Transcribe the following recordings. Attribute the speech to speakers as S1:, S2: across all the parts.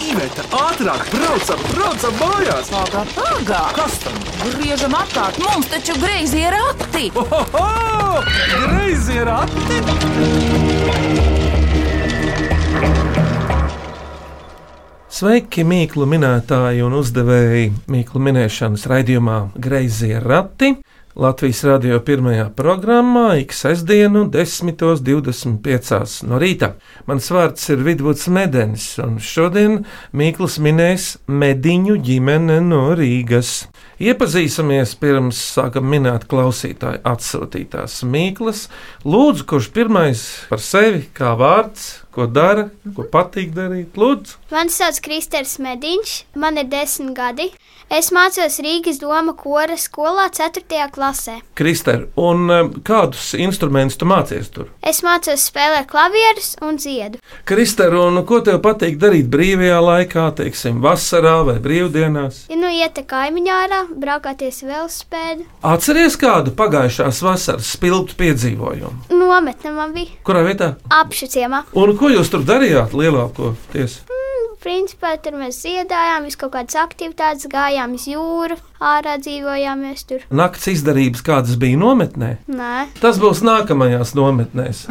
S1: Iveta, ātrāk, braucam, braucam mājās!
S2: Pagā, pagā!
S1: Kas tam?
S2: Griežam apkārt, mums taču greizi ir akti!
S1: Ohoho! Greizi ir ati!
S3: Sveiki, mīklu minētāji un uzdevēji! Mīklu minēšanas raidījumā Greizie rati Latvijas radio pirmajā programmā ik sestdienu 10.25 no rīta. Mans vārds ir Vidvuds Medenis, un šodien Mīkls minēs Mediņu ģimene no Rīgas. Iepazīsimies pirms sākam minēt klausītāju atsūtītās Mīklas. Lūdzu, kurš pirmais par sevi, kā vārds, ko dara, ko patīk darīt, lūdzu!
S4: Mani sauc Kristers Mediņš, man ir desmit gadi. Es mācos Rīgas doma kora skolā 4. klasē.
S3: Kristēna, un em, kādus instrumentus tu mācies tur?
S4: Es mācos spēlēt klavierus un dziedu.
S3: Kristēna, un ko tev patīk darīt brīvajā laikā, teiksim, vasarā vai brīvdienās?
S4: Ja nu iet kaimiņā ārā, braukāties velospēdu,
S3: Atceries kādu pagājušās vasaras spilgtu piedzīvojumu?
S4: nometne man bija
S3: Kurā vietā?
S4: apšuciemā.
S3: Un ko jūs tur darījāt lielākoties?
S4: Principā tur mēs ziedājām, visu kaut kādas aktivitātes, gājām uz jūru, ārā dzīvojāmies tur.
S3: Nakts izdarības kādas bija nometnē?
S4: Nē,
S3: Tas būs nākamajās nometnēs.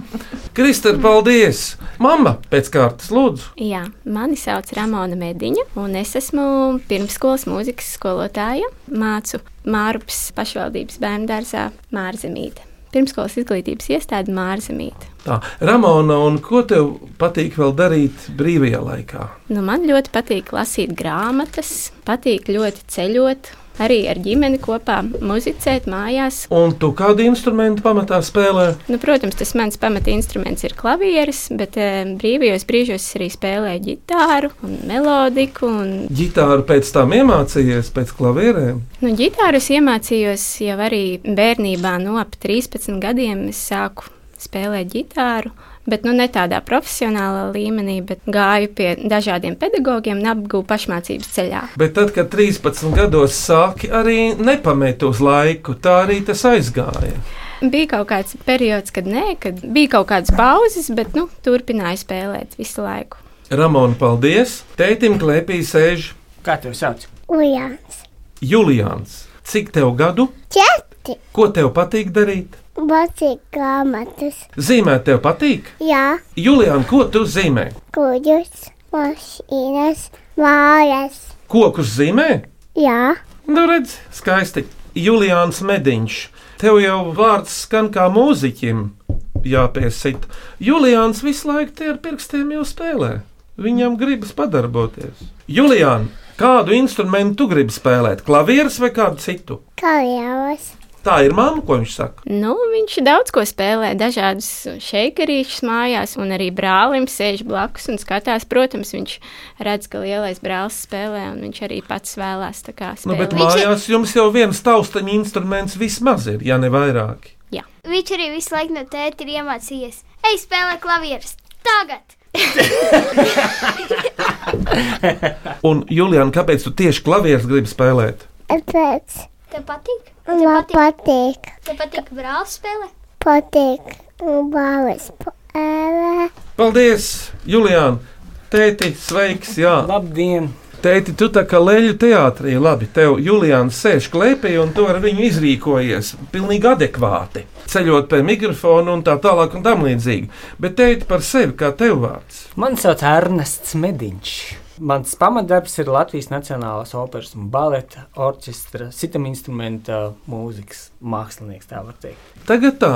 S3: Kristēna, paldies! Mama, pēc kārtas, lūdzu!
S5: Jā, mani sauc Ramona Mediņa, un es esmu pirmsskolas mūzikas skolotāja. Mācu Mārupas pašvaldības bērnu dārzā Mārzemīte. Pirmsskolas izglītības iestāde Mārzemīte.
S3: Tā, Ramona, un ko tev patīk vēl darīt brīvajā laikā?
S5: Nu, man ļoti patīk lasīt grāmatas, patīk ļoti ceļot, arī ar ģimeni kopā muzicēt mājās.
S3: Un tu kādu instrumentu pamatā spēlē?
S5: Nu, protams, tas mans pamatinstruments ir klavieris, bet eh, brīvajos brīžos es arī spēlēju ģitāru un melodiku un
S3: Gitāru pēc tam iemācījies, pēc klavierēm.
S5: Nu, ģitāru es iemācījos jau arī bērnībā, no ap 13 gadiem. Es sāku spēlēt ģitāru, bet nu, ne tādā profesionālā līmenī, bet gāju pie dažādiem pedagogiem un apgūju pašmācības ceļā.
S3: Bet tad, kad 13 gados sāki, arī nepamet uz laiku, tā arī tas aizgāja.
S5: Bija kaut kāds periods, kad nē, kad bija kaut kādas pauzes, bet nu, turpināju spēlēt visu laiku.
S3: Ramona, paldies! Tētim klēpī sēž
S6: Kā tev sauc?
S7: Ujāns.
S3: Julians. Cik tev gadu?
S7: Četri.
S3: Ko tev patīk darīt?
S7: Bocīgi grāmatas.
S3: Zīmēt tev patīk?
S7: Jā,
S3: Julian, ko tu zīmē?
S7: kuģus, mašīnas, mājas.
S3: Kokus zīmē?
S7: Jā,
S3: Nu, redz, skaisti. Julians Mediņš. Tev jau vārds skan kā mūziķim. Jāpiesit. Julians visu laiku tie ar pirkstiem jau spēlē. Viņam gribas padarboties. Julian, kādu instrumentu tu gribi spēlēt? Klavieres vai kādu citu?
S7: kaljavas.
S3: Tā ir mamma, ko viņš saka.
S5: Nu, viņš daudz ko spēlē, dažādas šeikarīšas mājās, un arī brālim sēž blakus un skatās. Protams, viņš redz, ka lielais brālis spēlē, un viņš arī pats vēlās tā kā
S3: Nu, bet
S5: spēlēt.
S3: mājās jums jau viens taustaņa instruments vismaz ir, ja ne vairāk.
S4: viņš arī visu laiku no tēta ir iemācījies. Ej, spēlē klavierus! Tagad!
S3: Un, Julian, kāpēc tu tieši klavieres gribi spēlēt?
S7: Pēc
S4: Tev patīk?
S7: man patīk,
S4: Tev patīk brālis spēlē?
S7: patīk bāles spēlē.
S3: Paldies, Julian! Tēti, sveiks! Jā,
S6: Labdien!
S3: Teiti, tu tā kā leļu teātrī, labi, tev Julians sēž klēpī un tu ar viņu izrīkojies pilnīgi adekvāti. Ceļot pie mikrofona un tā tālāk un tam līdzīgi. Bet teiti par sevi, kā tev vārds.
S6: Mani sauc Ernests Mediņš. Mans pamatdarbs ir Latvijas Nacionālās operas un baleta orķestra sitam instrumenta mūzikas mākslinieks, tā var teikt.
S3: Tagad tā,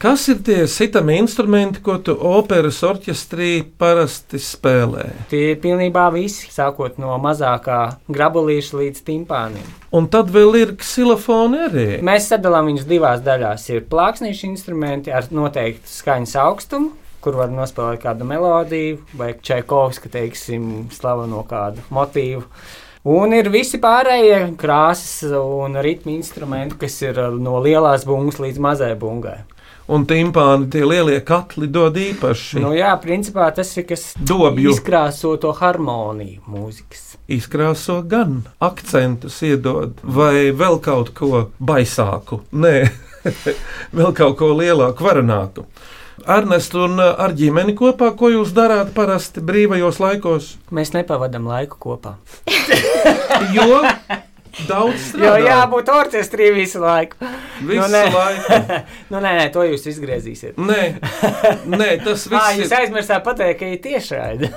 S3: kas ir tie sitami instrumenti, ko tu operas orķestrī parasti spēlē?
S6: Tie ir pilnībā visi, sākot no mazākā grabalīša līdz timpāniem.
S3: Un tad vēl ir ksilofoni arī.
S6: Mēs sadalām viņus divās daļās. Ir plāksnīši instrumenti ar noteiktu skaņas augstumu, kur var nospēlēt kādu melodiju, vai čaikovska, teiksim, slaveno kādu motīvu. Un ir visi pārējie krāsas un ritmi instrumenti, kas ir uh, no lielās bungas līdz mazai bungai.
S3: Un timpāni tie lielie katli dod īpaši
S6: Nu,
S3: no,
S6: jā, principā tas ir kas
S3: Dobju.
S6: izkrāso to harmoniju mūzikas.
S3: izkrāso gan akcentus iedod vai vēl kaut ko baisāku. Nē, vēl kaut ko lielāku, varenāku. Ernests un ā, ar ģimeni kopā, ko jūs darāt parasti brīvajos laikos?
S6: Mēs nepavadām laiku kopā.
S3: Jo daudz
S6: Jo
S3: strādājat
S6: jābūt orķestrī visu laiku.
S3: visu
S6: nu, nē.
S3: laiku.
S6: Nu, nē, nē, to jūs izgriezīsiet.
S3: Nē, nē, tas
S6: Ā,
S3: viss
S6: jūs
S3: ir.
S6: aizmirsāt pateikt, ka ir tiešraide.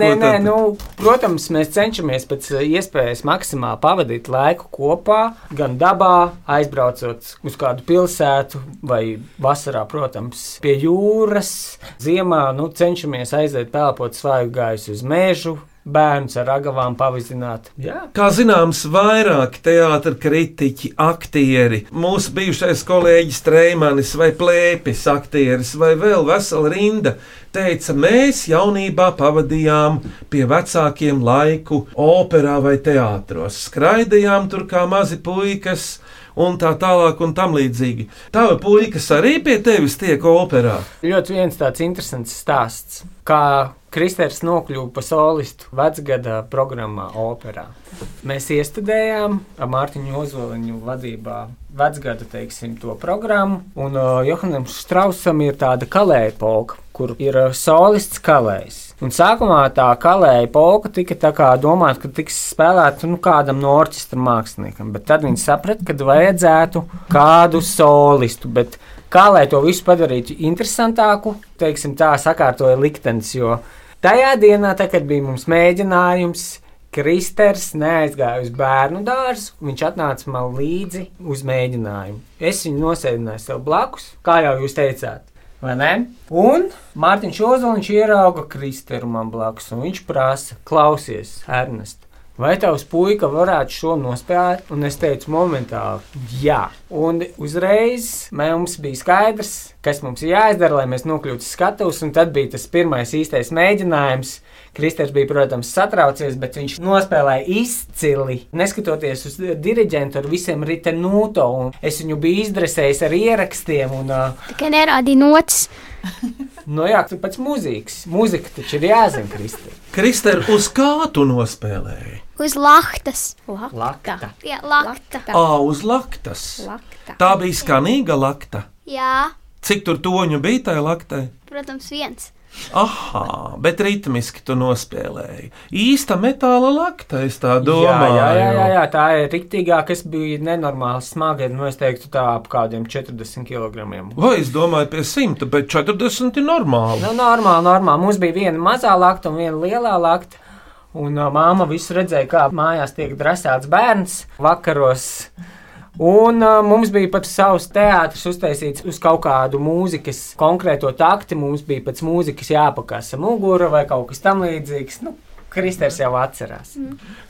S6: Nē,
S3: Ko
S6: nē,
S3: tad?
S6: nu, protams, mēs cenšamies pēc eh, iespējas maksimāli pavadīt laiku kopā, gan dabā, aizbraucot uz kādu pilsētu, vai vasarā, protams, pie jūras. Ziemā nu, cenšamies aiziet pelnīt svaigu gaisu uz mežu, bērnus ar agavām pavizināt. Jā,
S3: Kā zināms, vairāki teātris, kritiķi, aktieri, mūsu bijušais kolēģis Streimanis vai plēpis aktieris vai vēl vesela rinda teica, mēs jaunībā pavadījām pie vecākiem laiku operā vai teātros, skraidījām tur kā mazi puikas un tā tālāk un tam līdzīgi. Tava puikas arī pie tevis tiek operā.
S6: ļoti viens tāds interesants stāsts, kā Kristers nokļuva par solistu vecgada programmā Operā. Mēs iestudējām ar Mārtiņu Ozoliņu vadībā vecgada teiksim, to programmu, un uh, Johanam Strausam ir tāda kalēja polka, kur ir uh, solists kalējs. Un sākumā tā kalēja polka tika tā kā domāta, ka tiks spēlēta nu, kādam no orķestra māksliniekam, bet tad viņi saprata, ka vajadzētu kādu solistu. bet Kā lai to visu padarītu interesantāku, teiksim, tā sakārtoja liktenis. Jo tajā dienā, tā, kad bija mums mēģinājums, Kristers neaizgāja uz bērnu dārzu. Viņš atnāca man līdzi uz mēģinājumu. Es viņu nosēdināju sev blakus, kā jau jūs teicāt. vai ne? Un Mārtiņš Ozoliņš ierauga Kristeru man blakus, un viņš prasa, klausies, Ernest, Vai tavs puika varētu šo nospēlēt? Un es teicu, momentāli, jā. Un uzreiz mums bija skaidrs, kas mums ir jāizdara, lai mēs nokļūtu uz skatuves. Un tad bija tas pirmais īstais mēģinājums. Kristers bija, protams, satraucies, bet viņš nospēlēja izcili. Neskatoties uz diriģentu ar visiem ritenūto, un es viņu biju izdresējis ar ierakstiem. Un, uh,
S4: Tikai nerādīja notis.
S6: nu jā, tu pats mūzīgs. Mūzika taču ir jāzina, Kristers.
S3: Kristēna, uz kā tu nospēlēji?
S4: Uz lahtas.
S6: Lakta.
S4: Jā, lakta.
S3: Ā, uz laktas.
S5: Lakta.
S3: Tā bija skanīga lakta.
S4: Jā,
S3: Cik tur toņu bija tajā laktai?
S4: protams, viens.
S3: Aha, bet ritmiski tu nospēlēji. Īsta metāla lakta, es tā
S6: Jā,
S3: domāju.
S6: jā, jā, jā, jā, tā ir rīktīgā, kas bija nenormāli smaga. Nu, es teiktu, tā ap kādiem 40 kg.
S3: Vai es domāju, pie 100, bet 40 ir normāli.
S6: Nu, normāli, normāli. Mums bija viena mazā lakta un viena lielā lakta. Un uh, māma visu redzēja, kā mājās tiek drasēts bērns vakaros. Un uh, mums bija pat savs teātris uztaisīts uz kaut kādu mūzikas konkrēto takti. Mums bija pēc mūzikas jāpakāsa mugura vai kaut kas tamlīdzīgs. Nu, Kristers jau atcerās.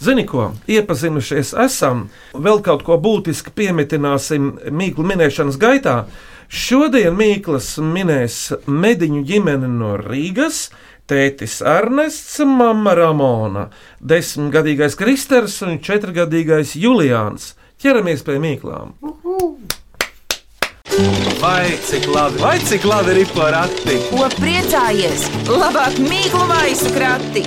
S3: Zini, ko iepazinušies esam, vēl kaut ko būtiski piemetināsim mīklu minēšanas gaitā. Šodien Mīklas minēs mediņu ģimeni no Rīgas. Tētis Ernests, mama Ramona, desmitgadīgais Kristers un četrgadīgais Julians. Ķeramies pie mīklām.
S1: Vai cik labi, vai cik labi ir porati?
S2: Ko priecājies? Labāk mīklu maisu krati!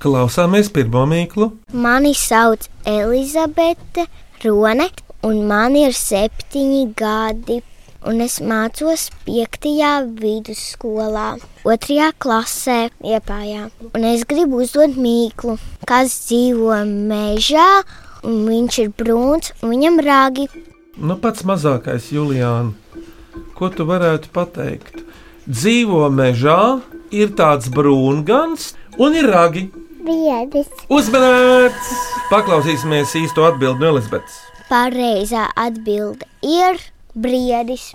S3: Klausāmies pirmo mīklu.
S7: Mani sauc Elizabete Rone, un man ir septiņi gadi. Un es mācos 5. vidusskolā, 2. klasē, iepājā. Un es gribu uzdot mīklu, kas dzīvo mežā, un viņš ir brūns, un viņam rāgi.
S3: Nu, pats mazākais, Julian, ko tu varētu pateikt? Dzīvo mežā, ir tāds brūngans un ir ragi.
S7: Biedis.
S3: Uzmanīts! Paklausīsimies īsto atbildību no Elizabetes.
S7: Pareizā atbilde ir briedis.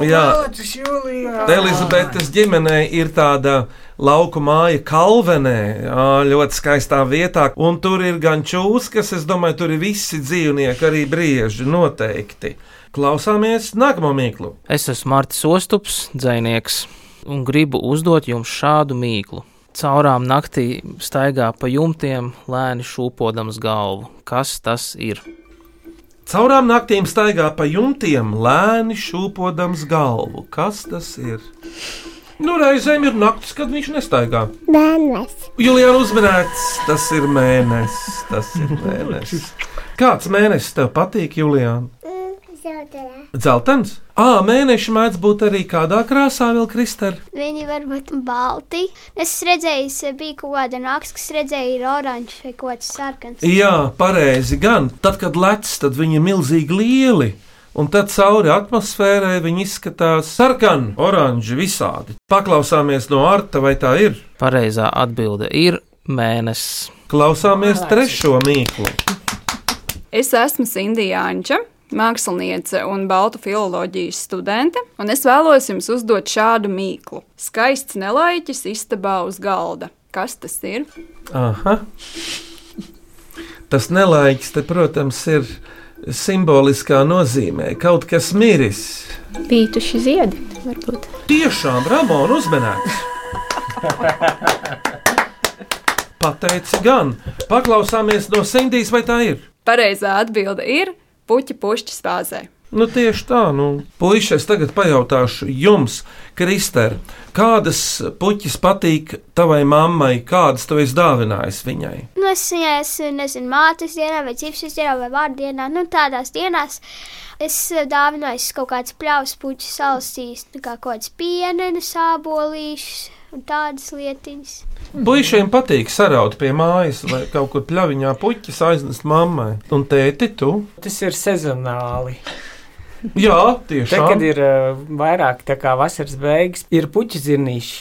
S3: Jā,
S6: Tas jūlijā!
S3: Elizabetes ģimenē ir tāda lauka māja Kalvenē, jā, ļoti skaistā vietā, un tur ir gan čūskas, es domāju, tur ir visi dzīvnieki, arī brieži noteikti. Klausāmies nākamo mīklu.
S8: Es esmu Mārcis Ostups, dzinieks, un gribu uzdot jums šādu mīklu. Caurām naktī staigā pa jumtiem, lēni šūpodams galvu. Kas tas ir?
S3: Caurām naktīm staigā pa jumtiem, lēni šūpodams galvu. Kas tas ir? Nu, reizēm ir naktis, kad viņš nestaigā.
S7: Bērnes.
S3: Julian, uzmanīts, tas ir mēnesis. Tas ir mēnesis. Kāds mēnesis tev patīk, Julian?
S7: Zem
S3: Zeltens? Ā, mēneša mēdz būt arī kādā krāsā, vēl kristāli.
S4: Viņi var būt balti. Es redzēju, es biju kaut kāda nāks, kas redzēja, ir oranžs vai kaut kas sarkans.
S3: Jā, pareizi gan. Tad, kad lec, tad viņi ir milzīgi lieli. Un tad cauri atmosfērai viņi izskatās sarkani, oranži, visādi. Paklausāmies no Arta, vai tā ir.
S8: Pareizā atbilde ir mēnesis.
S3: Klausāmies trešo mīklu.
S9: Es esmu Sindija Anča, māksliniece un baltu filozofijas studente, un es vēlos jums uzdot šādu mīklu. Skaists nelaiķis istabā uz galda. Kas tas ir?
S3: Aha. Tas nelaiks, te, protams, ir simboliskā nozīmē. Kaut kas miris.
S5: Pītuši ziedi, varbūt.
S3: Tiešām Ramona uzmanīgs. Pateici gan. Paklausāmies no Sindijas, vai tā ir?
S9: Pareizā atbilde ir puķa pušķis fāzē.
S3: Nu, tieši tā, nu, puiši, es tagad pajautāšu jums, Kristēr, kādas puķis patīk tavai mammai, kādas tu esi dāvinājis viņai?
S4: Nu, es viņai, es nezinu, mātes dienā, vai cipsas dienā, vai vārdienā. Nu, tādās dienās es eh, dāvināju es kaut kādas pļavas puķu salsīs, nu, kā kaut kāds pienenes, sābolīšus un tādas lietiņas.
S3: Puišiem patīk saraut pie mājas vai kaut kur pļaviņā puķis aiznest mammai. Un tēti, tu?
S6: Tas ir sezonāli.
S3: Jā,
S6: Te, kad
S3: tiešām.
S6: ir uh, vairāk tā kā vasaras beigas, ir puķu zirnīši,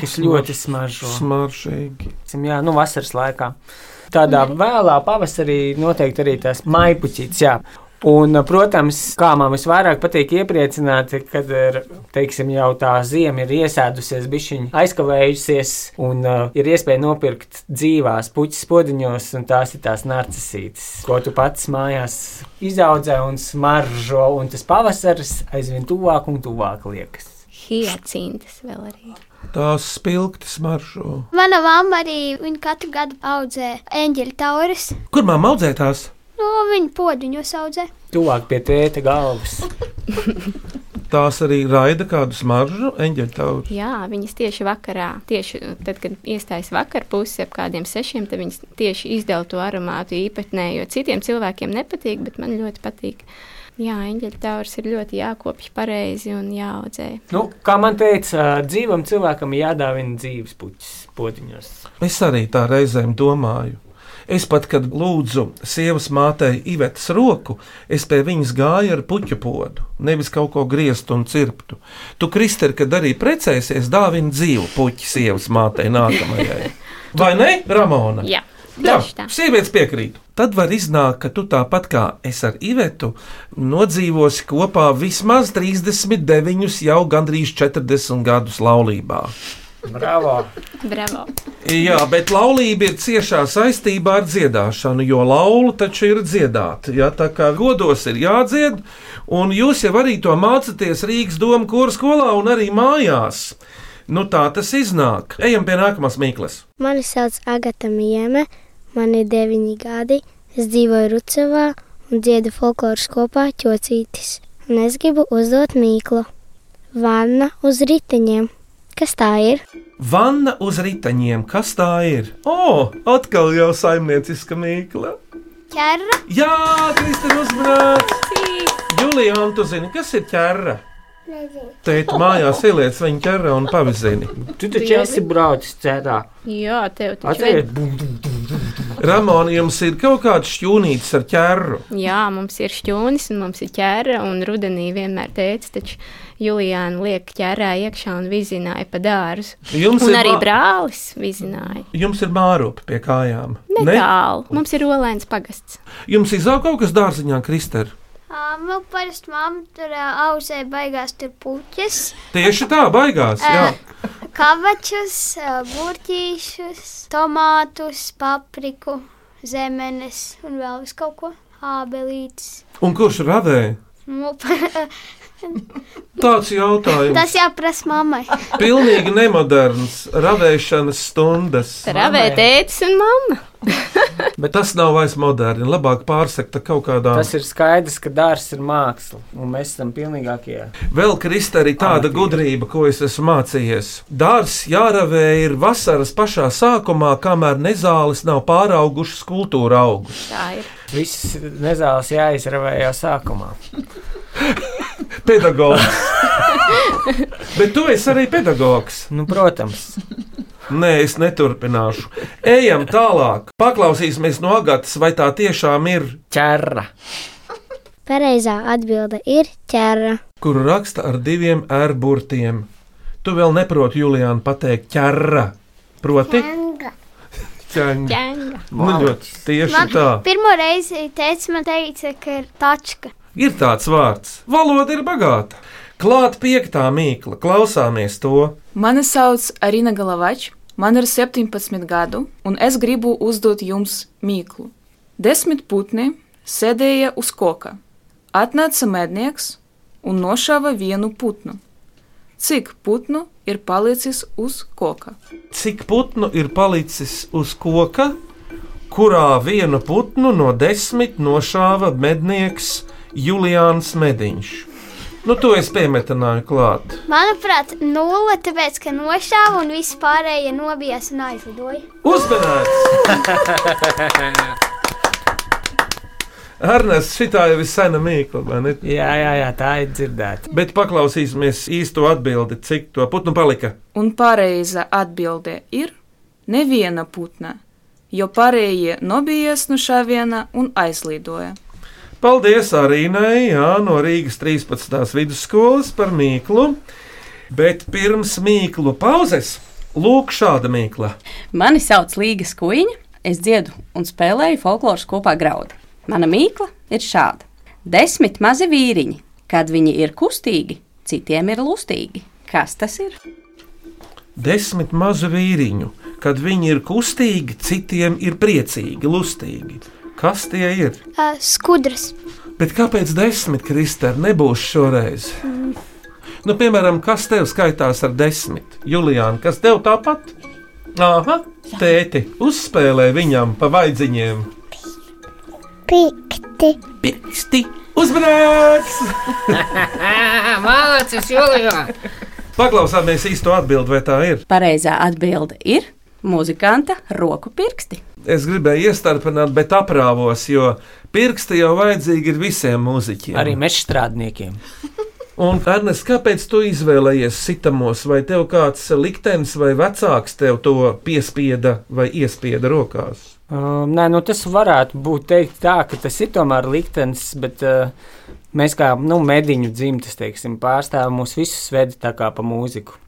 S6: kas ļoti smaržo.
S3: Smaržīgi.
S6: Teiksim, Jā, nu, vasaras laikā. Tādā vēlā pavasarī noteikti arī tās maipuķītes. jā. Un, protams, kā man visvairāk patīk iepriecināt, kad ir, teiksim, jau tā zima ir iesēdusies, bišķiņa aizkavējusies, un uh, ir iespēja nopirkt dzīvās puķis podziņos, un tās ir tās narcisītes, ko tu pats mājās izaudzē un smaržo, un tas pavasaris aizvien tuvāk un tuvāk liekas.
S5: Hiacintas vēl arī.
S3: Tās spilgti smaržo.
S4: Mana mamma arī viņa katru gadu audzē eņģeļa taures.
S3: Kur māma audzētās?
S4: No viņa podziņos audzē.
S6: Tuvāk pie tēta galvas.
S3: Tās arī raida kādu smaržu, eņģeļa tauru.
S5: Jā, viņas tieši vakarā, tieši tad, kad iestājas vakarpusē, ap kādiem sešiem, tad viņas tieši izdeva to aromātu īpatnē, jo citiem cilvēkiem nepatīk, bet man ļoti patīk. Jā, eņģeļa taurs ir ļoti jākopja pareizi un jāaudzē.
S6: Nu, kā man teica, dzīvam cilvēkam ir jādāvina dzīves puķis, podziņos.
S3: Es arī tā reizēm domāju. Es pat, kad lūdzu sievas mātei Ivetas roku, es pie viņas gāju ar puķu podu, nevis kaut ko griezt un cirptu. Tu, Krister, kad arī precēsies, dāvini dzīvu puķu sievas mātei nākamajai. Vai ne, Ramona?
S5: Jā,
S3: Jā,
S5: tieši tā.
S3: sievietes piekrīt. Tad var iznākt, ka tu tāpat kā es ar Ivetu nodzīvosi kopā vismaz 39, jau gandrīz 40 gadus laulībā.
S6: Bravo!
S5: Bravo!
S3: Jā, bet laulība ir ciešā saistībā ar dziedāšanu, jo laulu taču ir dziedāta. Jā, tā kā godos ir jādzied, un jūs jau arī to mācāties Rīgas domu kura skolā un arī mājās. Nu, tā tas iznāk. Ejam pie nākamās mīklas.
S7: Mani sauc Agata Mieme, man ir deviņi gadi. Es dzīvoju Rucavā un dziedu folkloras kopā ķocītis. Un es gribu uzdot mīklu. Vanna uz riteņiem. Kas tā ir?
S3: Vanna uz riteņiem, kas tā ir? O, atkal jau saimnieciska mīkla.
S4: Ķerra,
S3: Jā, Kristina, uzmanīgs! Julija, un tu zini, kas ir ķēra? Teikt, mājās ieliec viņa ķēra un pavizini.
S6: Tu taču esi braucis ceļā.
S5: Jā, tev taču ir.
S6: Atcerieties, bum, bum, bum.
S3: Ramona, jums ir kaut kāds šķūnītis ar ķēru.
S5: Jā, mums ir šķūnis un mums ir ķēra, un rudenī vienmēr teica, taču Juliāna liek ķērā iekšā un vizināja pa dārzu.
S3: Jums
S5: Un
S3: ir
S5: arī
S3: mā-
S5: brālis vizināja.
S3: Jums ir mārupa pie kājām.
S5: Netālu. Mums ir olēns pagasts.
S3: Jums izaug kaut kas dārziņā, Kristēr.
S4: um, nu, parasti mamma tur ā, audzē baigās tur puķis,
S3: Tieši tā, baigās. Jā.
S4: kavačus, ā, burķīšus, tomātus, papriku, zemenes un vēl vis kaut ko. Ābelītis.
S3: Un kurš radē?
S4: Nu, pa-
S3: Tāds jautājums.
S4: Tas jāprasa mammai.
S3: Pilnīgi nemoderns ravēšanas stundas.
S5: Ravē tētis un mamma.
S3: Bet tas nav vairs moderni. Labāk pārsekta kaut kādā.
S6: Tas ir skaidrs, ka dārsts ir māksla, un mēs esam pilnīgākie.
S3: Vēl Kristē arī tāda
S6: Amatīgi.
S3: gudrība, ko es esmu mācījies. Dārs jāravē ir vasaras pašā sākumā, kamēr nezāles nav pāraugušas kultūra augus.
S5: Tā ir.
S6: Visas nezāles jāizravē jau sākumā.
S3: Pedagogs. Bet tu esi arī pedagogs.
S6: Nu, protams,
S3: Nē, es neturpināšu. Ejam tālāk. Paklausīsimies no Agatas, vai tā tiešām ir,
S6: ķerra.
S7: Pareizā atbilde ir ķēra.
S3: kur raksta ar diviem ērburtiem. Tu vēl neproti, Juliāna, pateikt ķerra. Proti, ķēniņa.
S5: Ķēniņa.
S3: Nu, ļoti tieši tā.
S4: Pirmo reizi teica, man teica, ka ir tačka.
S3: Ir tāds vārds. Valoda ir bagāta. Klāt piektā mīkla, klausāmies to.
S10: Mani sauc Arina Galavač, man ir 17 gadu, un es gribu uzdot jums mīklu. Desmit putni sēdēja uz koka. Atnāca mednieks un nošāva vienu putnu. Cik putnu ir palicis uz koka?
S3: Cik putnu ir palicis uz koka, kurā vienu putnu no desmit nošāva mednieks Julians Mediņš? Nu, to es piemetināju klāt.
S4: Manuprāt, nulle, tāpēc, ka nošāva un viss pārējie nobijās un aizlidoja.
S3: Uzmanīgs! Ernests, šitā jau ir sena mīkla, vai ne?
S6: Jā, jā, jā, tā ir dzirdēta.
S3: Bet paklausīsimies īsto atbildi, cik to putnu palika.
S10: Un pareiza atbilde ir neviena putna, jo pārējie nobijās no šāviena un aizlidoja.
S3: Paldies Arīnai jā, no Rīgas 13. vidusskolas par mīklu. Bet pirms mīklu pauzes lūk šāda mīkla.
S11: Mani sauc Līga Skuiņa, es dziedu un spēlēju folkloras kopā graudu. Mana mīkla ir šāda: desmit mazi vīriņi, kad viņi ir kustīgi, citiem ir lustīgi. Kas tas ir?
S3: Desmit mazu vīriņu, kad viņi ir kustīgi, citiem ir priecīgi, lustīgi. Kas tie ir?
S4: Uh, skudras.
S3: Bet kāpēc desmit kristāli nebūs šoreiz? Nu, piemēram, kas tev skaitās ar desmit? Juliāna, kas tev tāpat? Aha, tēti, uzspēlē viņam pa vaidziņiem.
S7: Pikti.
S3: Pirksti! Uzmanīgs!
S6: Mācis Julijā!
S3: Paklausāmies īsto atbildi, vai tā ir.
S11: Pareizā atbilde ir muzikanta roku pirksti.
S3: Es gribēju iestarpināt, bet aprāvos, jo pirksti jau vajadzīgi ir visiem mūziķiem.
S6: Arī meža strādniekiem.
S3: Un, Ernest, kāpēc tu izvēlējies sitamos, vai tev kāds liktenis vai vecāks tev to piespieda vai iespieda rokās?
S6: Um, nē, nu tas varētu būt teikt tā, ka tas ir tomēr liktenis, bet uh, mēs kā nu, mediņu dzimtas teiksim, pārstāvam mūs visus vedi tā kā pa mūziku.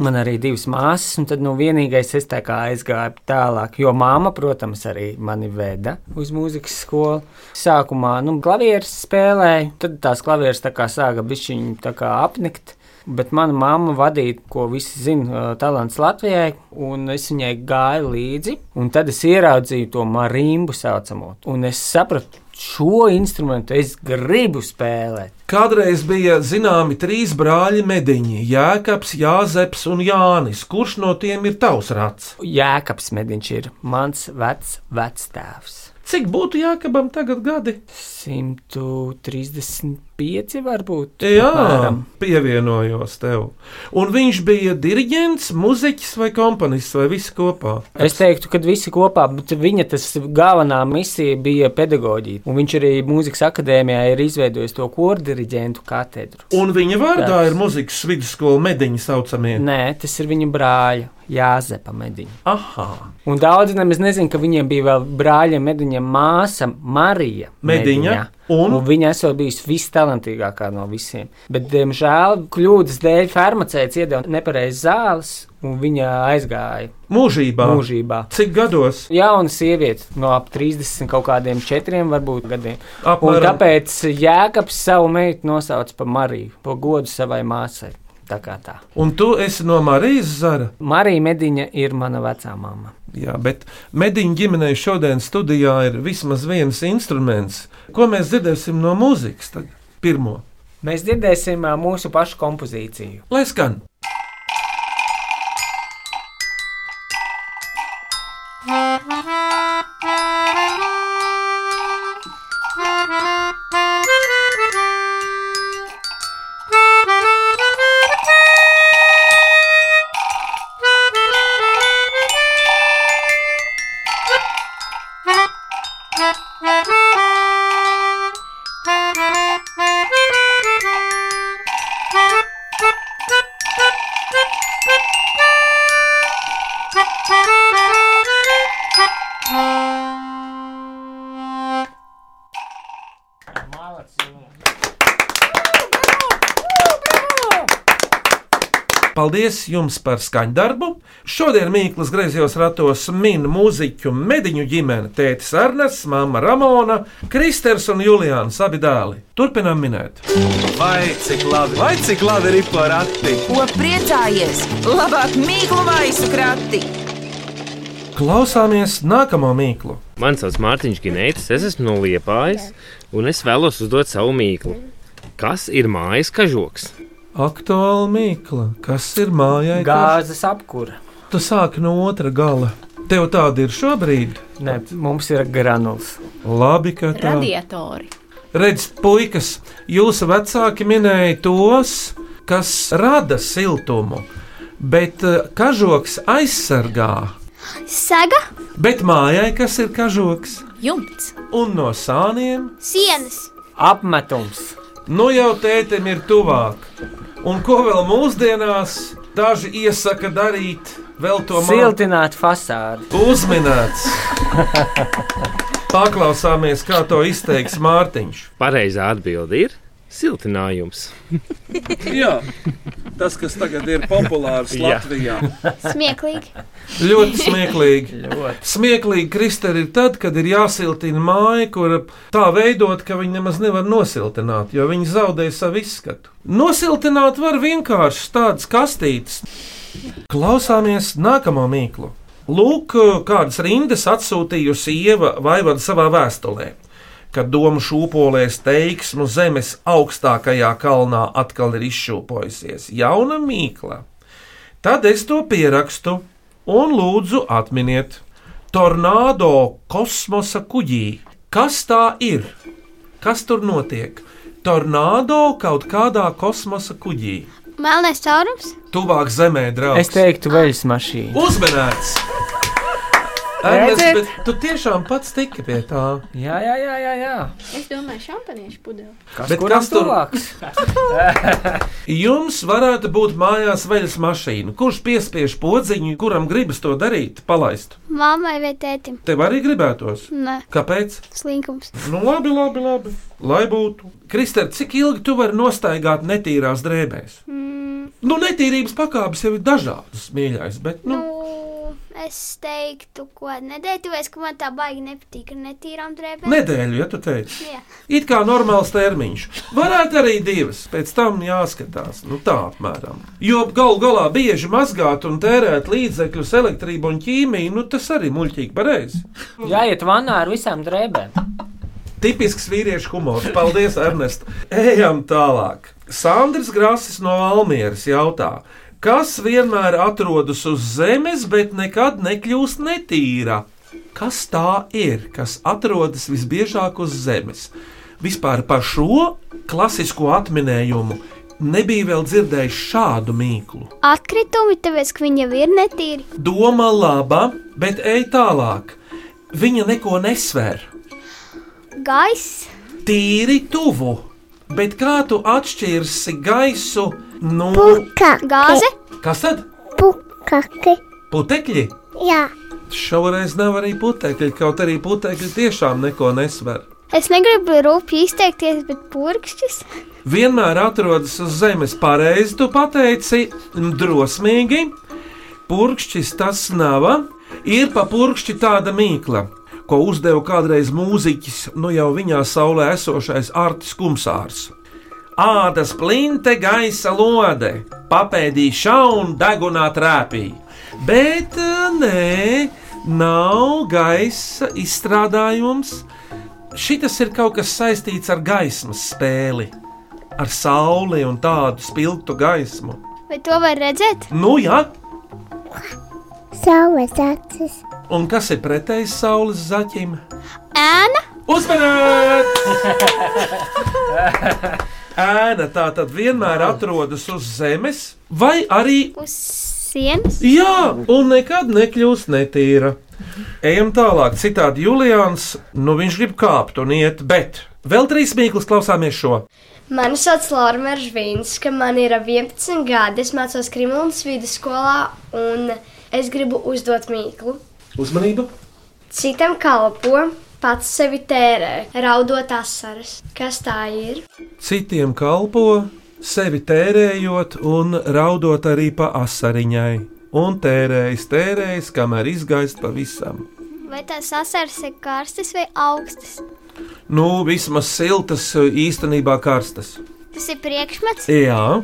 S6: Man arī divas māsas, un tad nu, vienīgais es tā kā aizgāju tālāk, jo māma, protams, arī mani veda uz mūzikas skolu. Sākumā, nu, klavieres spēlēju, tad tās klavieres tā kā sāka bišķiņu tā kā apnikt. Bet mana mamma vadīja, ko visi zina, talants Latvijai, un es viņai gāju līdzi. Un tad es ieraudzīju to marimbu saucamo, un es sapratu, šo instrumentu es gribu spēlēt.
S3: Kādreiz bija zināmi trīs brāļi mediņi - Jēkabs, Jāzeps un Jānis. Kurš no tiem ir tavs rats?
S6: Jēkabs Mediņš ir mans vecs vectēvs.
S3: Cik būtu Jēkabam tagad gadi?
S6: 135 varbūt.
S3: Jā,
S6: apmēram.
S3: pievienojos tev. Un viņš bija diriģents, mūziķis vai komponists vai viss kopā.
S6: Es teiktu, ka visi kopā, bet viņa tas galvenā misija bija pedagoģija. Un viņš arī mūzikas akadēmijā ir izveidojis to kordiriģentu katedru.
S3: Un viņa vārdā
S6: Tāds.
S3: ir mūzikas vidusskola mediņa saucamie.
S6: Nē, tas ir viņa brāļa Jāzepa Mediņa.
S3: Aha,
S6: Un daudzi nemaz nezina, ka viņiem bija vēl brāļa Mediņa māsa Marija.
S3: mediņa.
S6: Un
S3: Un
S6: Nu, viņa esot bijusi visvarenākā no visiem. Bet, diemžēl, kļūdas dēļ farmaceits iedeva nepareizas zāles, un viņa aizgāja
S3: mūžībā.
S6: mūžībā.
S3: Cik gados?
S6: Jauna sieviete no ap 30 kaut kādiem četriem varbūt gadiem. Un
S3: Apmēram.
S6: tāpēc Jēkabs savu meitu nosauca par Mariju, par godu savai māsai. Tā kā tā.
S3: Un tu esi no Marijas Zara.
S6: Marija Mediņa ir mana vecā mamma.
S3: Jā, bet mediņu ģimenei šodien studijā ir vismaz viens instruments, ko mēs dzirdēsim no mūzikas. Tagad. Pirmo,
S6: Mēs dzirdēsim ā, mūsu pašu kompozīciju.
S3: lai skan!
S4: Thank you.
S3: Paldies jums par skaņdarbu! Šodien Mīklas griezījos ratos min mūziķu mediņu ģimene, tētis Ernsts, māma Ramona, Kristers un Julians abi dēli. Turpinām minēt.
S1: Vai cik labi, vai cik labi ir porakti?
S2: Ko priecājies? Labāk mīklu maisu krati!
S3: Klausāmies nākamo mīklu.
S12: Mani sauc Mārtiņš Ginētis, es esmu no Liepājas, un es vēlos uzdot savu mīklu. Kas ir mājas kažoks?
S3: Aktuāla mīkla, kas ir mājai?
S6: Gāzes apkūra.
S3: Tu sāki no otra gala. Tev tāda ir šobrīd?
S6: Nē, mums ir granuls.
S3: Labi, ka tā
S5: Radiatori.
S3: Redz, puikas, jūsu vecāki minēja tos, kas rada siltumu, bet eh, kažoks aizsargā.
S4: Saga,
S3: Bet mājai kas ir kažoks?
S5: Jumts.
S3: Un no sāniem
S4: sienas,
S6: apmetums.
S3: nu jau tētim ir tuvāk. Un ko vēl mūsdienās daži iesaka darīt, vēl to mākslinieku
S6: Siltināt fasādi.
S3: uzminēts? Paklausāmies, kā to izteiks Mārtiņš.
S12: Pareizā atbilde ir siltinājums.
S1: Jā, tas, kas tagad ir populārs
S12: Jā.
S1: Latvijā.
S4: smieklīgi.
S3: Ļoti smieklīgi.
S6: Ļoti.
S3: Smieklīgi kristēri ir tad, kad ir jāsiltina māja, kur tā veidot, ka viņi nemaz nevar nosiltināt, jo viņi zaudēja savu izskatu. Nosiltināt var vienkārši tādas kastītes. Klausāmies nākamo mīklu. Lūk, kādas rindas atsūtījusi Ieva Vaivada savā vēstulē. Kad domu šūpolēs teiksmu zemes augstākajā kalnā atkal ir izšūpojusies jauna mīkla, tad es to pierakstu un lūdzu atminiet, tornado kosmosa kuģī. Kas tā ir? Kas tur notiek? Tornado kaut kādā kosmosa kuģī.
S4: Melnais caurums,
S3: Tuvāk zemē, draugs.
S6: Es teiktu, veļas mašīna.
S3: uzmanīts! Ernest, bet tu tiešām pats tiki pie tā.
S6: Jā, jā, jā, jā. jā.
S5: Es domāju, šampaniešu pudeli.
S6: Kas,
S3: Bet
S6: kuram
S3: kas tur-
S6: tuvāks?
S3: Jums varētu būt mājās veļas mašīna. Kurš piespiež podziņu, kuram gribas to darīt, palaist?
S4: mammai vai tētim.
S3: Tev arī gribētos.
S4: Nē,
S3: Kāpēc?
S4: slinkums.
S3: Nu, labi, labi, labi. Lai būtu. Kristēn, cik ilgi tu vari nostaigāt netīrās drēbēs?
S4: Mm,
S3: Nu, netīrības pakāpes jau ir dažādas, mīļais, bet nu,
S4: nu, es teiktu, ko nedēļu, jo es ka man tā baigi nepatīk ar netīrām drēbēm.
S3: nedēļu, ja tu teici.
S4: Jā.
S3: It kā normāls termiņš. Varētu arī divas, pēc tam jāskatās. Nu, tā apmēram. Jo galu galā bieži mazgāt un tērēt līdzekļus, elektrību un ķīmiju, nu, tas arī muļķīgi pareizi.
S6: Jāiet vannā ar visām drēbēm.
S3: Tipisks vīriešu humors. Paldies, Ernest. Ejam tālāk. Sandrs Grāsis no Almieras jautā, kas vienmēr atrodas uz zemes, bet nekad nekļūst netīra? Kas tā ir, kas atrodas visbiežāk uz zemes? Vispār par šo klasisko atminējumu nebija vēl dzirdējis šādu mīklu.
S4: Atkritumi, tāpēc, ka viņi jau ir netīri.
S3: Doma laba, bet ej tālāk. Viņa neko nesver.
S4: Gaiss,
S3: tīri tuvu. Bet kā tu atšķirsi gaisu no
S7: Puka,
S4: gāze,
S3: Kas tad?
S7: pukaki.
S3: Putekļi?
S7: Jā,
S3: Šoreiz nav arī putekļi, kaut arī putekļi tiešām neko nesver.
S4: es negribu rūpīgi izteikties, bet purkšķis.
S3: Vienmēr atrodas uz zemes pareizi, tu pateici, n- drosmīgi. Purkšķis tas nav. Ir pa purkšķi tāda mīkla, ko uzdeva kādreiz mūziķis, nu jau viņā saulē esošais Artis Kumsārs. Ādas plinte, gaisa lode, papēdīja šaunu degunā trāpīja. Bet eh, nē, nav gaisa izstrādājums. Šis ir kaut kas saistīts ar gaismas spēli, ar sauli un tādu spilgtu gaismu.
S4: Vai to var redzēt?
S3: Nu, jā,
S7: saules acis.
S3: un kas ir pretējs saules zaķim?
S4: Ēna,
S3: Uzmanīt! Ēna tā tad vienmēr atrodas uz zemes, vai arī
S4: uz sienas,
S3: jā, un nekad nekļūst netīra. Ejam tālāk, citādi Julians, nu viņš grib kāpt un iet, bet vēl trīs mīklas klausāmies šo.
S13: Mani sauc Lorija Zvaigznes, man ir 11 gadi. Es mācos Krimlas vidusskolā, un es gribu uzdot mīklu.
S3: Uzmanību!
S13: Citam kalpo, pats sevi tērē, raudot asaras. Kas tā ir?
S3: Citiem kalpo, sevi tērējot un raudot arī pa asariņai. Un tērējis, tērējis, kamēr izgaist pavisam.
S4: Vai tās asaras ir karstas vai augstas?
S3: Nu, vismaz siltas, īstenībā karstas.
S4: Tas ir priekšmets.
S3: Jā,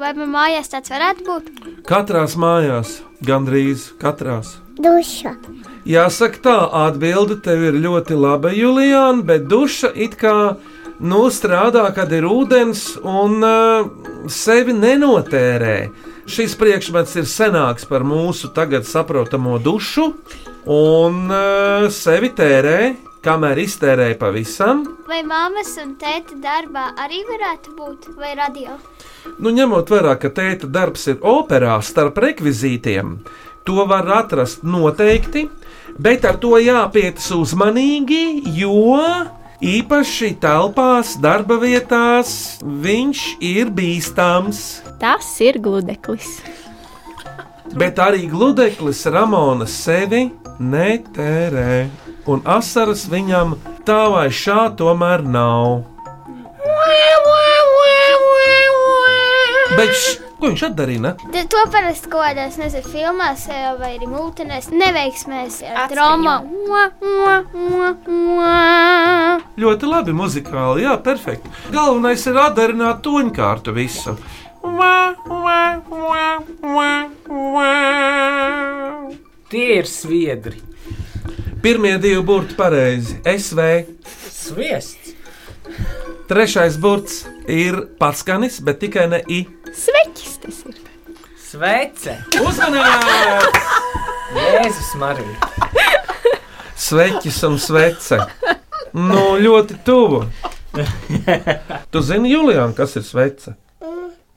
S4: Vai man mājās tāds varētu būt?
S3: katrās mājās, gandrīz katrās.
S4: Duša.
S3: Jāsaka, tā atbilde tev ir ļoti laba, Julian, bet duša it kā nu, strādā, kad ir ūdens un uh, sevi nenotērē. Šis priekšmets ir senāks par mūsu tagad saprotamo dušu, un uh, sevi tērē, kamēr iztērē pavisam.
S4: Vai mammas un tēta darbā arī varētu būt? Vai radio?
S3: Nu, ņemot vērā, ka tēta darbs ir operā starp rekvizītiem, to var atrast noteikti, bet ar to jāpietas uzmanīgi, jo īpaši telpās, darba vietās viņš ir bīstams.
S5: Tas ir gludeklis.
S3: Bet arī gludeklis Ramona sevi netērē, un asaras viņam tā vai šā tomēr nav. Bet š, ko viņš atdarīja?
S4: Tu- To parasti kaut kādās, nezinu, filmās eh, vai arī mūtenēs neveiksmēs eh, ar traumu.
S3: Ļoti labi, muzikāli, jā, perfekti. Galvenais ir atdarināt toņkārtu visu.
S6: Tie ir sviedri.
S3: Pirmie divi burti pareizi - SV.
S6: Sviests.
S3: Trešais burts ir paskanis, bet tikai ne I.
S5: Sveķis tas ir.
S6: Sveice!
S3: Uzmanīgs!
S6: Jēzus, Marija!
S3: Sveķis un svece. Nu, ļoti tuvu. Tu zini, Julian, kas ir svece?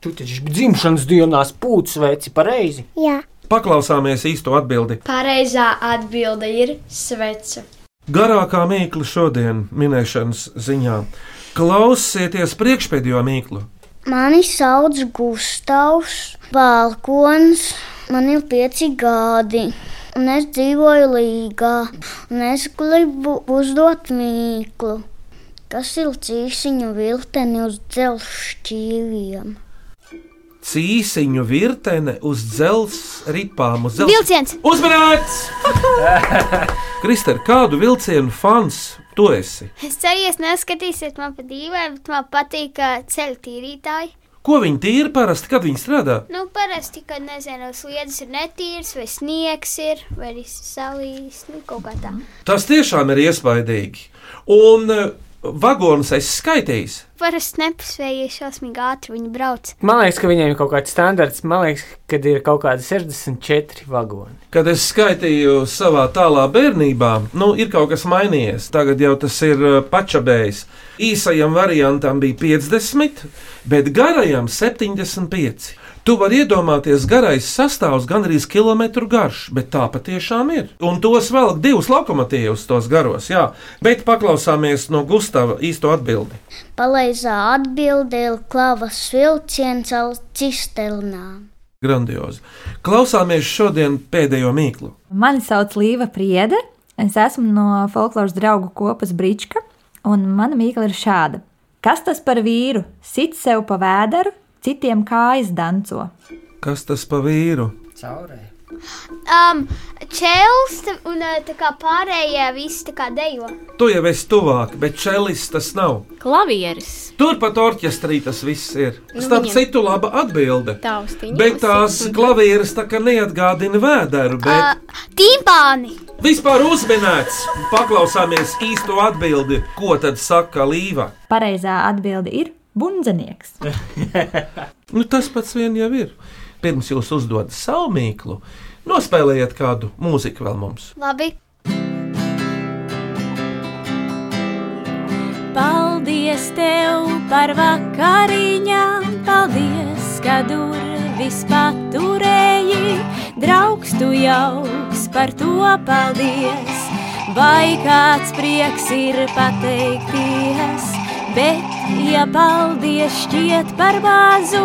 S6: Tu taču dzimšanas dienā spūdzi sveci pareizi.
S4: Jā.
S3: Paklausāmies īsto atbildi.
S13: Pareizā atbilde ir sveca.
S3: Garākā mīkla šodien minēšanas ziņā. Klausieties priekšpēdējo mīklu.
S7: Mani sauc Gustavs Balkons. Man ir pieci gadi, un es dzīvoju Līgā. un Es gribu uzdot mīklu, kas ir cīsiņu vilteni uz dzelzšķīviem.
S3: Cīsiņu virtene uz dzelzs ripām. Uz dzelzs...
S4: Vilciens!
S3: Uzmanīts! Kristēn, kādu vilcienu fans tu esi?
S4: Es ceru, jūs neskatīsiet man pa dīvaini, bet man patīk ā, ceļu tīrītāji.
S3: Ko viņi tīra parasti, kad viņi strādā?
S4: Nu, parasti, kad nezinu, sliedas ir netīras, vai sniegs ir, vai arī salīs, nu, kaut kā tā.
S3: Tas tiešām ir iespaidīgi. Un eh, vagonus es skaitīju.
S4: Parasti nepasvēju, ja šausmīgi ātri viņi brauc.
S6: Man liekas, ka viņiem ir kaut kāds standarts. Man liekas, ka ir kaut kādi 64 vagoni.
S3: Kad es skaitīju savā tālā bērnībā, nu, ir kaut kas mainījies. Tagad jau tas ir eh, pačabējis. Īsajam variantam bija 50, bet garajam 75. Tu vari iedomāties, garais sastāvs gandrīz kilometru garš, bet tā patiešām ir. Un tos velk divus lokomotīvus, tos garos, jā. Bet paklausāmies no Gustava īsto atbildi.
S7: Pareizā atbilde ir klavas vilciens ar cisternām.
S3: Grandiozi. Klausāmies šodien pēdējo mīklu.
S14: Mani sauc Līva Priede. Es esmu no folkloras draugu kopas Brīčka, un mana mīkla ir šāda. Kas tas par vīru? Sit sev pa vēderu, citiem kājas danco.
S3: Kas tas pa vīru?
S6: Caurē.
S4: Um, čels t- un ā, tā kā pārējie visi tā kā dejo.
S3: Tu jau esi tuvāk, bet čelis tas nav.
S5: Klavieris.
S3: Turpat orķestrī tas viss ir.
S5: Nu,
S3: Starp
S5: viņam-
S3: citu, laba atbilde.
S5: Taustiņa.
S3: Bet tās klavieres tā kā neatgādina vēderu, bet
S4: Timpāni!
S3: vispār uzminēts. Paklausāmies īsto atbildi, ko tad saka Līva.
S14: Pareizā atbilde ir bundzenieks.
S3: Nu, tas pats vien jau ir. Pirms jūs uzdodat savu mīklu, nospēlējiet kādu mūziku vēl mums.
S4: Labi.
S15: Paldies tev par vakariņām, paldies, ka durvis paturēji. Draugs tu jauks, par to paldies. Vai kāds prieks ir pateikties, bet, ja paldies šķiet par bāzu,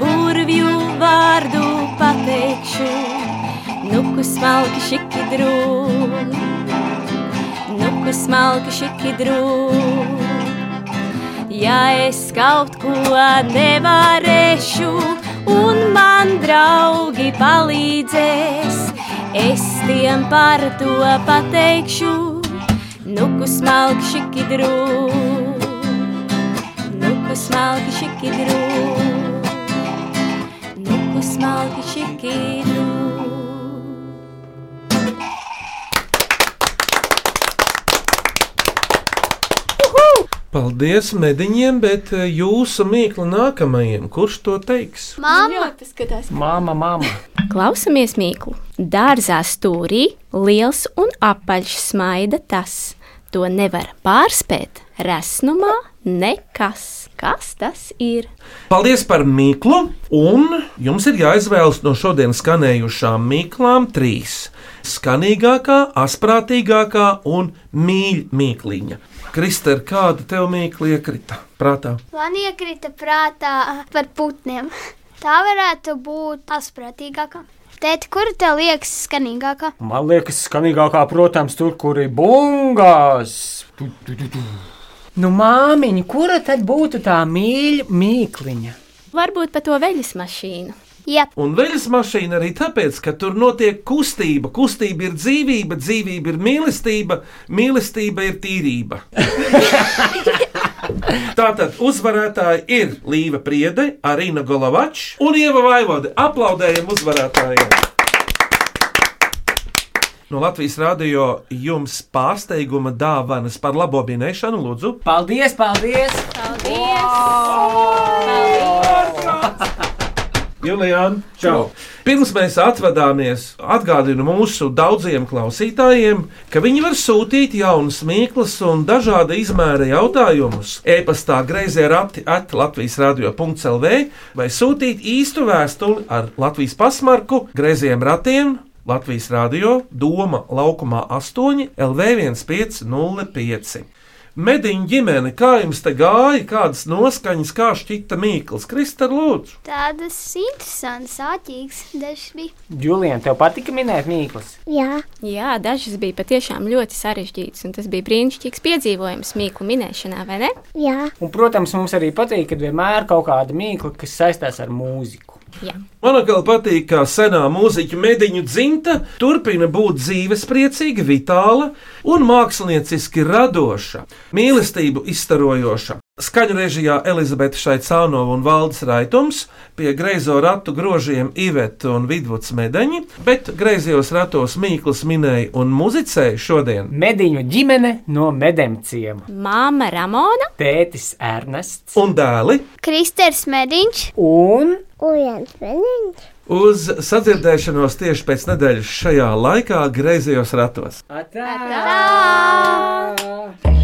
S15: burvju vārdu pateikšu, nu, kas malki šiki drūmi. Nu, kas malki šiki drūmi. ja es kaut ko nevarēšu, un man draugi palīdzēs, es tiem par to pateikšu, nu, kas smalkšķi kidrū nuku smalki šikidru, nuku smalki šikidru.
S3: Paldies mediņiem, bet eh, jūsu mīklu nākamajam, kurš to teiks?
S4: Māma!
S6: Māma, māma!
S5: Klausamies mīklu. Dārzā stūrī liels un apaļš smaida tas. To nevar pārspēt. Resnumā nekas. Kas tas ir?
S3: Paldies par mīklu, un jums ir jāizvēlas no šodienas skanējušām mīklām trīs. Skanīgākā, asprātīgākā un mīļākā mīkliņa. Kristēna, kāda tev mīkla iekrita prātā?
S4: Man iekrita prātā par putniem. Tā varētu būt asprātīgākā. Tēt, kur tev liekas skanīgākā?
S6: Man liekas, skanīgākā, protams, tur, kur ir bungās. Tu, tu, tu, tu. Nu, māmiņa, kura tad būtu tā mīļa mīkliņa?
S5: Varbūt pa to veļas mašīnu.
S4: Jā.
S3: Un veļas mašīna arī tāpēc, ka tur notiek kustība. Kustība ir dzīvība, dzīvība ir mīlestība, mīlestība ir tīrība. Tātad uzvarētāji ir Līta Priede, Arīna Golavačs un Ieva Vaivode. Aplaudējam uzvarētājiem! No Latvijas Rādio jums pārsteiguma dāvanas par labo minēšanu, lūdzu.
S6: Paldies, paldies!
S3: Julian, čau! Pirms mēs atvadāmies, atgādinu mūsu daudziem klausītājiem, ka viņi var sūtīt jaunas mīklas un dažāda izmēra jautājumus. E-pastā greizē rati at Latvijas radio.clv vai sūtīt īstu vēstuli ar Latvijas pasmarku greiziem ratiem. Latvijas Rādio Doma laukumā 8 LV1505. Mediņu ģimene, kā jums te gāja, kādas noskaņas, kā šķita Mīkls, Kristāla Lūdzu?
S4: Tādas interesantas, āķīgas dažas bija.
S6: Julien, tev patika minēt mīklas?
S4: Jā.
S5: Jā, dažas bija patiešām ļoti sarežģītas, un tas bija brīnišķīgs piedzīvojums mīklu minēšanā, vai ne?
S4: Jā.
S6: Un, protams, mums arī patīk, kad vienmēr ir kaut kāda mīkla, kas saistās ar mūziku.
S5: Jā.
S3: Man atkal patīk, kā senā mūziķa mediņu dzimta turpina būt dzīvespriecīga, vitāla un mākslinieciski radoša, mīlestību izstarojoša. Skaņu režijā Elizabete Šaicānova un Valdis Raitums, pie greizo ratu grožiem Iveta un Vidvuds Medeņi, bet greizajos ratos Mīkls minēja un muzicēja šodien.
S6: Mediņu ģimene no medemciem.
S5: Māma Ramona,
S6: Tētis Ernests
S3: un dēli
S4: Kristers Mediņš
S6: un
S4: Ujans Mediņš.
S3: uz sadzirdēšanos tieši pēc nedēļas šajā laikā greizajos ratos.
S6: Atā! Atā!